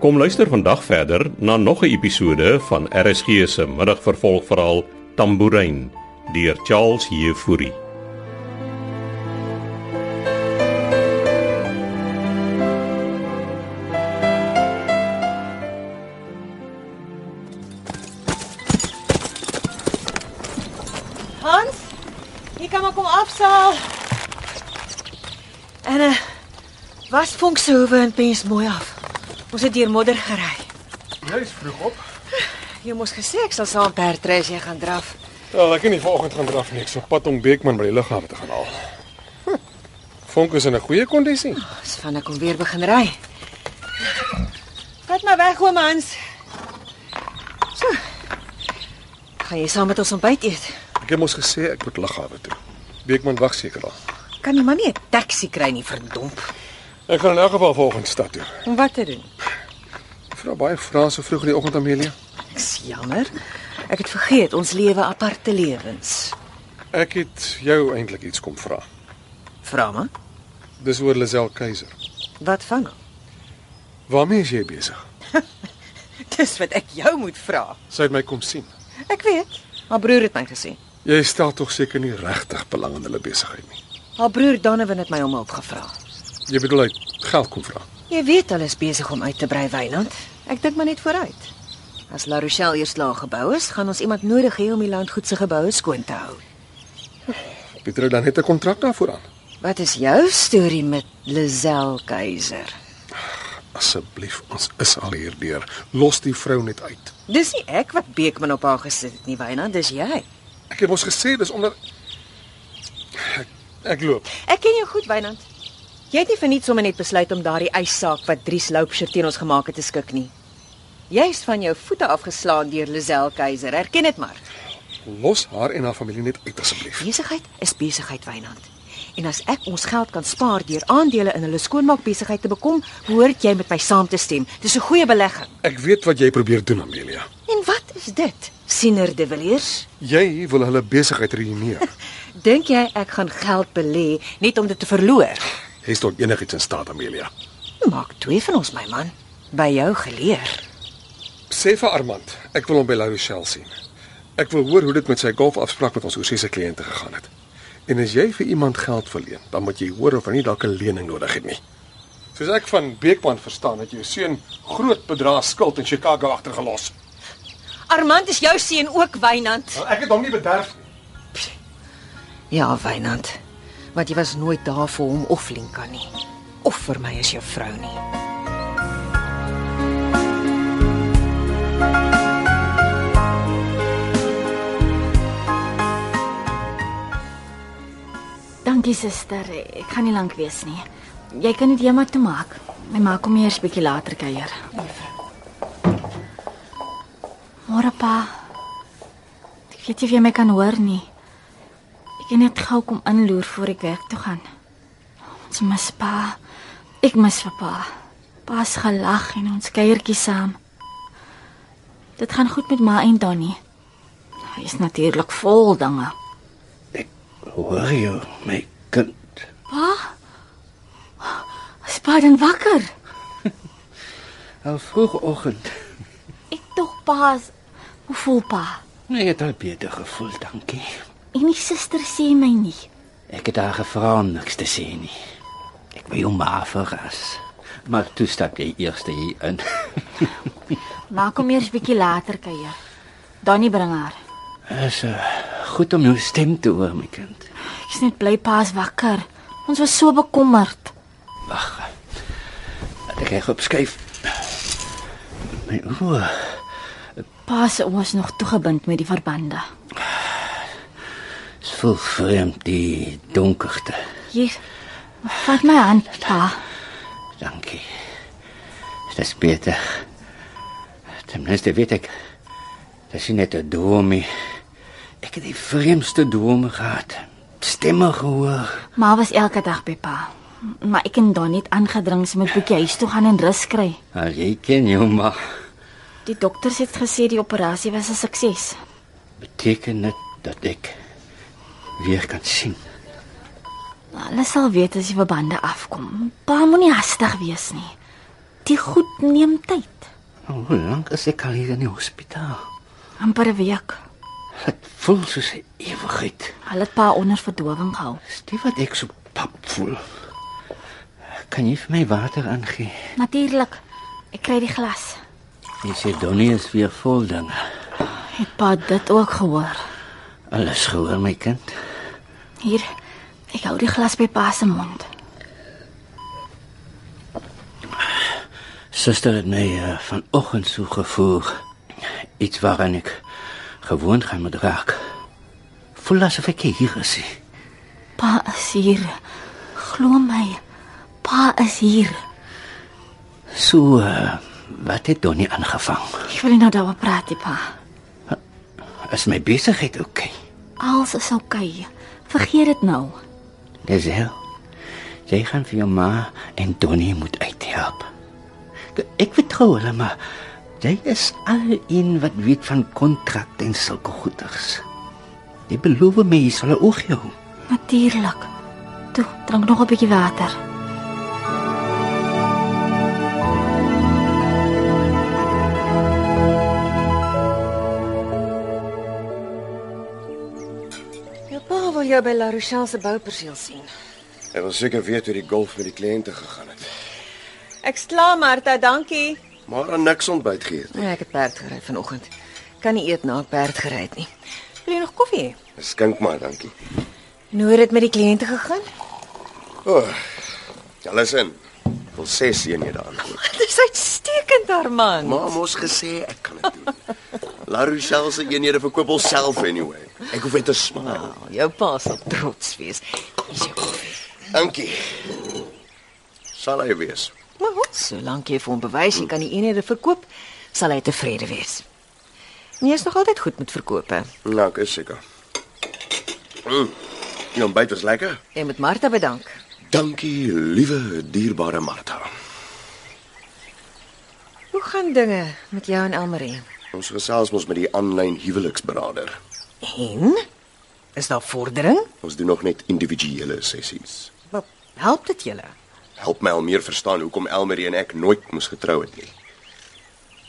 Kom luister vandag verder na nog 'n episode van RSG se middagvervolgverhaal Tambourine deur Charles Heffury. Hans, jy kan maar kom afsaal. En uh, was vonk se hoewe en pens mooi af. Ons het deur modder gery. Jy's Nou vroeg op. Jy moes gesê ek sal saam perdry as jy gaan draf. Wel, Ja, ek kan nie vanoggend gaan draf nie. Ek's op pad om Beekman by die lughawe te gaan haal. Hm. Vonk is in 'n goeie kondisie. As van ek kom weer begin ry. Vat maar weg oom Hans. So. Gaan jy saam met ons ontbyt eet? Ek het mos gesê ek moet lughawe toe. Beekman wag seker al. Kan jy maar nie 'n taxi kry nie, verdomp. Ek gaan in elk geval vanoggend stad toe. Om wat te doen? Ek Vra baie vrae so vroeg in die oggend Amelia. Ek's jammer. Ek het vergeet ons lewe aparte lewens. Ek het jou eintlik iets kom vra. Vra maar, Dis oor Lazel Keiser. wat van hom? Waarmee is jy besig? Dis wat ek jou moet vra. Sy het my kom sien. Ek weet. Haar broer het my gesê. Jy stel tog seker nie regtig belang in hulle besigheid nie. Haar broer Donovan het my om hulp gevra. Jy bedoel hy het geld kom vra. Jy weet hulle is besig om uit te brei Weiland. Ek dink maar net vooruit. As La Rochelle eers laag gebou is, gaan ons iemand nodig hê om die landgoed se geboue skoon te hou. Pieter het dan net 'n kontrak daarvoor aan. Wat is jou storie met Lazel Keiser? Asseblief, ons is al hier deur. Los die vrou net uit. Dis nie ek wat Beekman op haar gesit het nie, Weiland, dis jy. Ek het mos gesê dis omdat ek, ek loop. Ek ken jou goed, Wynand. Jy het nie vir niks sommer net besluit om daardie eissaak wat Dries Loupsher teen ons gemaak het te skik nie. Jy's van jou voete afgeslaan deur Lazel Keiser. Erken dit maar. Los haar en haar familie net uit asseblief. Besigheid is besigheid, Wynand. En as ek ons geld kan spaar deur aandele in hulle skoonmaakbesigheid te bekom, behoort jy met my saam te stem. Dis 'n goeie belegging. Ek weet wat jy probeer doen, Amelia. En wat is dit? Siener de Villiers? Jy wil hulle besigheid ruïneer. Dink jy ek gaan geld belê net om dit te verloor? Jy's tot enigiets in staat, Amelia. Maak twee van ons, my man. By jou geleer. Sê vir Armand, ek wil hom by La Rochelle sien. Ek wil hoor hoe dit met sy golfafspraak met ons oorsese kliënte gegaan het. En as jy vir iemand geld verleen, dan moet jy hoor of hy nie dalk 'n lening nodig het nie. Soos ek van Beekman verstaan, het jou seun groot bedrae skuld in Chicago agtergelos. Armand is jou seun ook, Wynand. Nou, Ek het hom nie bederf nie. Ja, Wynand. Want jy was nooit daar vir hom of Linka nie. Of vir my as jou vrou nie. Dankie suster, ek gaan nie lank wees nie. Jy kan dit heeltemal toe maak. My ma kom eers bietjie later kuier. Môre pa. Ek weet nie of jy my kan hoor nie. Ek het net gou kom inloer voor ek werk toe gaan. Ons mis pa. Ek mis vir pa. Pa's gelag en ons kuiertjie saam. Dit gaan goed met ma en Donnie. Hy is natuurlik vol dinge. Hoor jy, my kind? Pa? Spaden wakker. Al vroegoggend. Ek tog pa. is- Hoe voel pa? Nee, het al beter gevoel, dankie. En my suster sê my nie. Ek het haar gevra om niks te sê nie. Ek wou jou maar verras. Maar toe stap jy eers hier in. Maar kom eers bietjie later kuier. Donnie bring haar. Is uh, goed om jou stem te hoor, my kind. Ek's net bly pa's wakker. Ons was so bekommerd. Wag. Laat Ek reg op skuif. My oë. Pa se oë is nog toegebind met die verbande. Dit voel vreemd die donkerte. Hier. Vat my hand, pa. Dankie. Dis beter. Tenminste weet ek dis nie net 'n droom nie. Ek het die vreemdste drome gehad. Stemme gehoor. Ma was elke dag by pa. Maar ek en Donnie het aangedring sy moet bietjie huis toe gaan en rus kry. Maar jy ken jou ma. Die dokters het gesê die operasie was 'n sukses. Beteken dit dat ek weer kan sien? Ah, Hulle sal weet as die verbande afkom. Pa moenie hastig wees nie. die goed neem tyd. Maar Hoe lank is ek al hier in die hospitaal? amper 'n week. Dit voel soos 'n ewigheid. Hulle het pa onder verdowing gehou. Dis nie wat ek so pap voel. Kan jy vir my water aangee? Natuurlik. Ek kry die glas. Jy sê Donnie is weer vol dinge. Het pa dit ook gehoor? Alles gehoor my kind. Hier. Ek hou die glas by pa se mond. Suster het my uh, vanoggend so gevoel. Iets waaraan ek gewoond gaan moet raak. Voel asof ek hier is. nie. Pa is hier. Glo my. Pa is hier. So uh, wat het Donnie aangevang? Ek wil nie nou daaroor praat, nie, pa. Is my besigheid oukei? Alles is oukei. Okay. Vergeet dit nou. Okay? Dis heel. Jy gaan vir jou ma en Donnie moet uithelp. K- Ek vertrou hulle maar jy is al een wat weet van kontrakte en sulke goeders. Jy beloof my jy sal 'n oog hou. Natuurlik. Toe, drink nog 'n bietjie water. Jou pa wil jou by La Rochelle se bouperseel sien. Ek wil seker weet hoe die golf met die kliënte gegaan het. Ek's klaar, Martha, dankie. Maar aan niks ontbyt geëet. Nee, ek het perd gery vanoggend. Kan nie eet na ek perd gery het nie. Wil jy nog koffie hê? Skink maar, dankie. En hoe Nou het dit met die kliënte gegaan? O. Oh, alles in. Wil ses eenhede aankoop. Dit is uitstekend, Armand. Ma mos gesê ek kan dit doen. La Rochelle se eenhede verkoop alself anyway. Ek hoef net te smaak. Ah, Jou pa sal trots wees. Is jou koffie. Dankie. Sal hy wees. Maar goed, solank jy vir hom bewys jy kan die eenhede verkoop, sal hy tevrede wees. Nee, is nog altyd goed met verkope. Nou, ek is seker. Mm. Die ontbyt was lekker. Jy moet Martha bedank. Dankie, liewe dierbare Martha. Hoe gaan dinge met jou en Elmarie? Ons gesels mos met die aanlyn huweliksberader. En is daar vordering? Ons doen nog net individuele sessies. Wat help dit julle? Help my al meer verstaan hoekom Elmarie en ek nooit moes getrou het nie.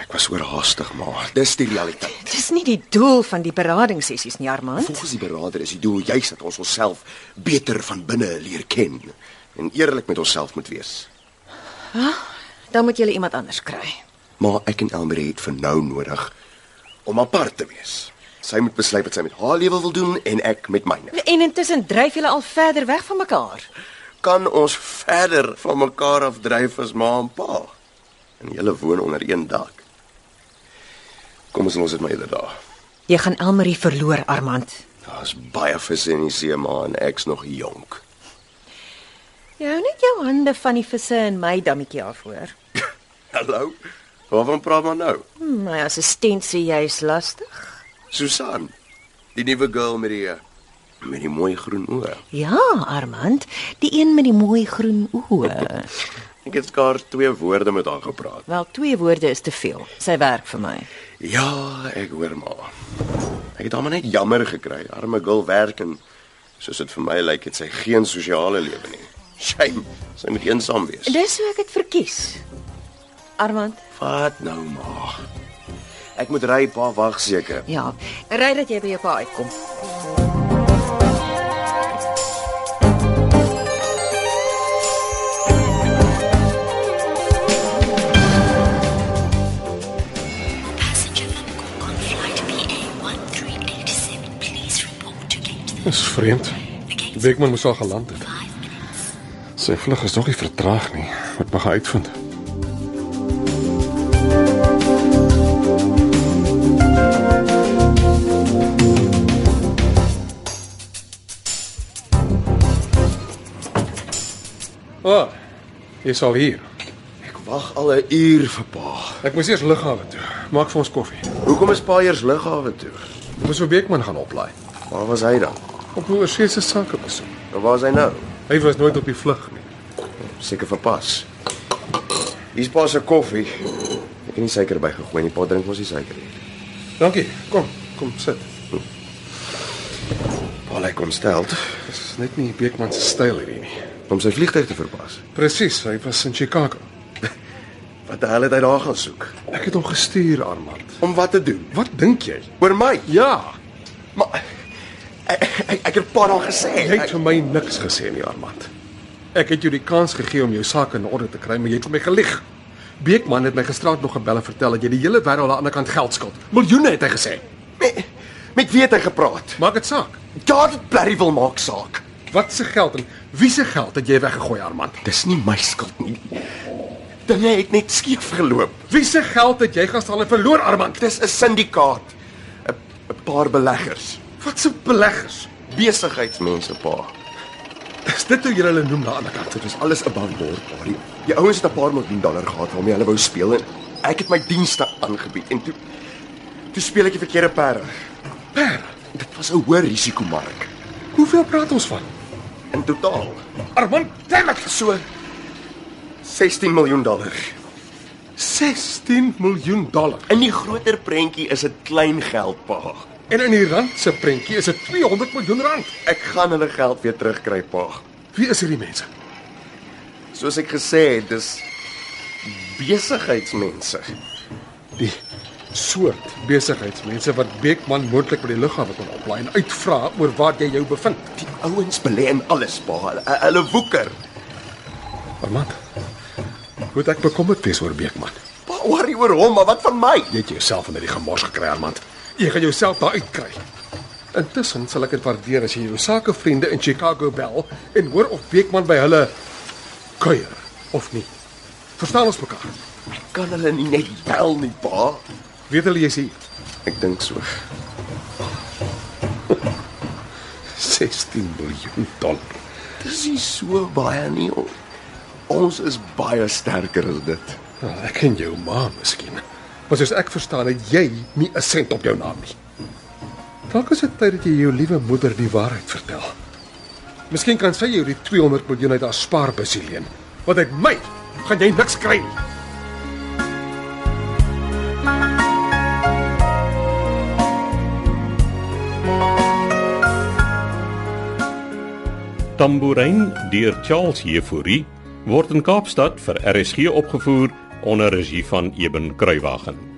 Ek was oorhaastig, maar dis die realiteit. Dis nie die doel van die beradingssessies nie, Armand. Volgens die beraader is die doel juis dat ons onsself beter van binne leer ken en eerlik met onsself moet wees. Dan moet julle iemand anders kry. Maar ek en Elmarie het vir nou nodig om apart te wees. Sy moet besluit wat sy met haar lewe wil doen en ek met myne. En intussen dryf julle al verder weg van mekaar. Kan ons verder van mekaar afdryf as ma en pa? En julle woon onder een dak. Kom ons los dit maar eerder daar. Jy gaan Elmarie verloor, Armand. Daar's baie visse in die see maar en ek's nog jonk. Jy hou net jou hande van die visse in my dammetjie af, hoor. Hallo. Waarvan praat maar nou? Hm, my assistent sê jy's lastig. Susan. Die nuwe girl met die eh, met die mooi groen oë. Ja, Armand, die een met die mooi groen oë. Ek het skaars twee woorde met haar gepraat. Wel, twee woorde is te veel. Sy werk vir my. Ja, ek hoor maar. Ek het hom net jammer gekry. Arme girl werk en soos dit vir my lyk, het sy geen sosiale lewe nie. Shame. Sy moet eensaam wees. Dis hoe ek dit verkies. Armand, Wat nou maar. Ek moet ry, pa wag seker. ja, ry dat jy by jou pa uitkom. Passenger from Hong Kong flight BA1387, please report to gate Dis vreemd. Beekman moes al geland het. 5 minutes. Sy vlug is nog nie vertraag nie. Wat mag hy uitvind? Ah, jy's al hier. Ek wag al 'n uur vir pa. Ek moes eers lughawe toe. Maak vir ons koffie. Hoekom is pa eers lughawe toe? Ek moes vir Beekman gaan oplaai. Waar was hy dan? Op hoe oor se sake besoek. En waar is hy nou? Hy was nooit op die vlug nie. Seker verpas. Hier's pa se koffie. Ek het nie suiker bygegooi nie. Pa drink mos nie suiker nie. Dankie. Kom, kom sit. Pa lyk ontstel Dis net nie Beekman se styl hierdie nie. om sy vliegtyg te verpas. Presies, hy was in Chicago. Wat die hel het hy daar gaan soek? Ek het hom gestuur, Armand. Om wat te doen? Wat dink jy? Oor my? Ja, Maar ek ek, ek het pa dan gesê. jy het ek- vir my niks gesê nie, Armand. Ek het jou die kans gegee om jou saak in orde te kry, maar jy het vir my gelieg. Beekman het my gisteraand nog gebel en vertel dat jy die hele wêreld aan die ander kant geld skuld. Miljoene het hy gesê. met, met wie het hy gepraat? Maak dit saak. Ja, dit blerrie wil maak saak. Wat se geld en wie se geld het jy weggegooi, Armand? Dis nie my skuld nie. Dinge het net skeef geloop. Wie se geld het jy gisteraan verloor, Armand? Dis 'n syndikaat. 'n 'n paar beleggers, Wat se beleggers? besigheidsmense pa. Is dit hoe jy hulle noem na aan die kant? Dit was alles 'n bankbord pa. Die, die ouens het 'n paar miljoen dollar gehad waarmee hulle wou speel en ek het my dienste aangebied en toe toe speel ek die verkeerde perde. Per, Dit was 'n hoë risikomark hoeveel praat ons van? in totaal. Armand, Dit was so 16 miljoen dollar. 16 miljoen dollar. In die groter prentjie is dit klein geld pa. En in die rand se prentjie is dit 200 miljoen rand. Ek gaan hulle geld weer terugkry pa. Wie is hierdie mense? Soos ek gesê het, dis besigheidsmense. Die soort besigheidsmense wat Beekman moontlik by die lughawe kon oplaai en uitvra oor waar jy jou bevind. Die ouens belê in alles pa. Hulle, hulle woeker. Armand, moet ek bekommerd wees oor Beekman? Pa worry oor hom, maar wat van my? Jy het jouself in hierdie gemors gekry, Armand. Jy gaan jouself daar uitkry. Intussen sal ek dit waardeer as jy jou sakevriende in Chicago bel en hoor of Beekman by hulle kuier of nie. Verstaan ons mekaar? Kan hulle nie net bel nie, pa? Weet hulle jy's hier? Ek dink so. 16 miljoen dollar. Dis nie so baie nie. o- Ons is baie sterker as dit. Nou, ek ken jou ma miskien. Maar soos ek verstaan het jy nie 'n sent op jou naam nie. Dalk is dit tyd dat jy jou liewe moeder die waarheid vertel. Miskien kan sy jou die 200 miljoen uit haar spaarbusie leen. Want uit my gaan jy niks kry nie. Tambourine deur Charles Heffouri word in Kaapstad vir RSG opgevoer onder regie van Eben Kruiwagen.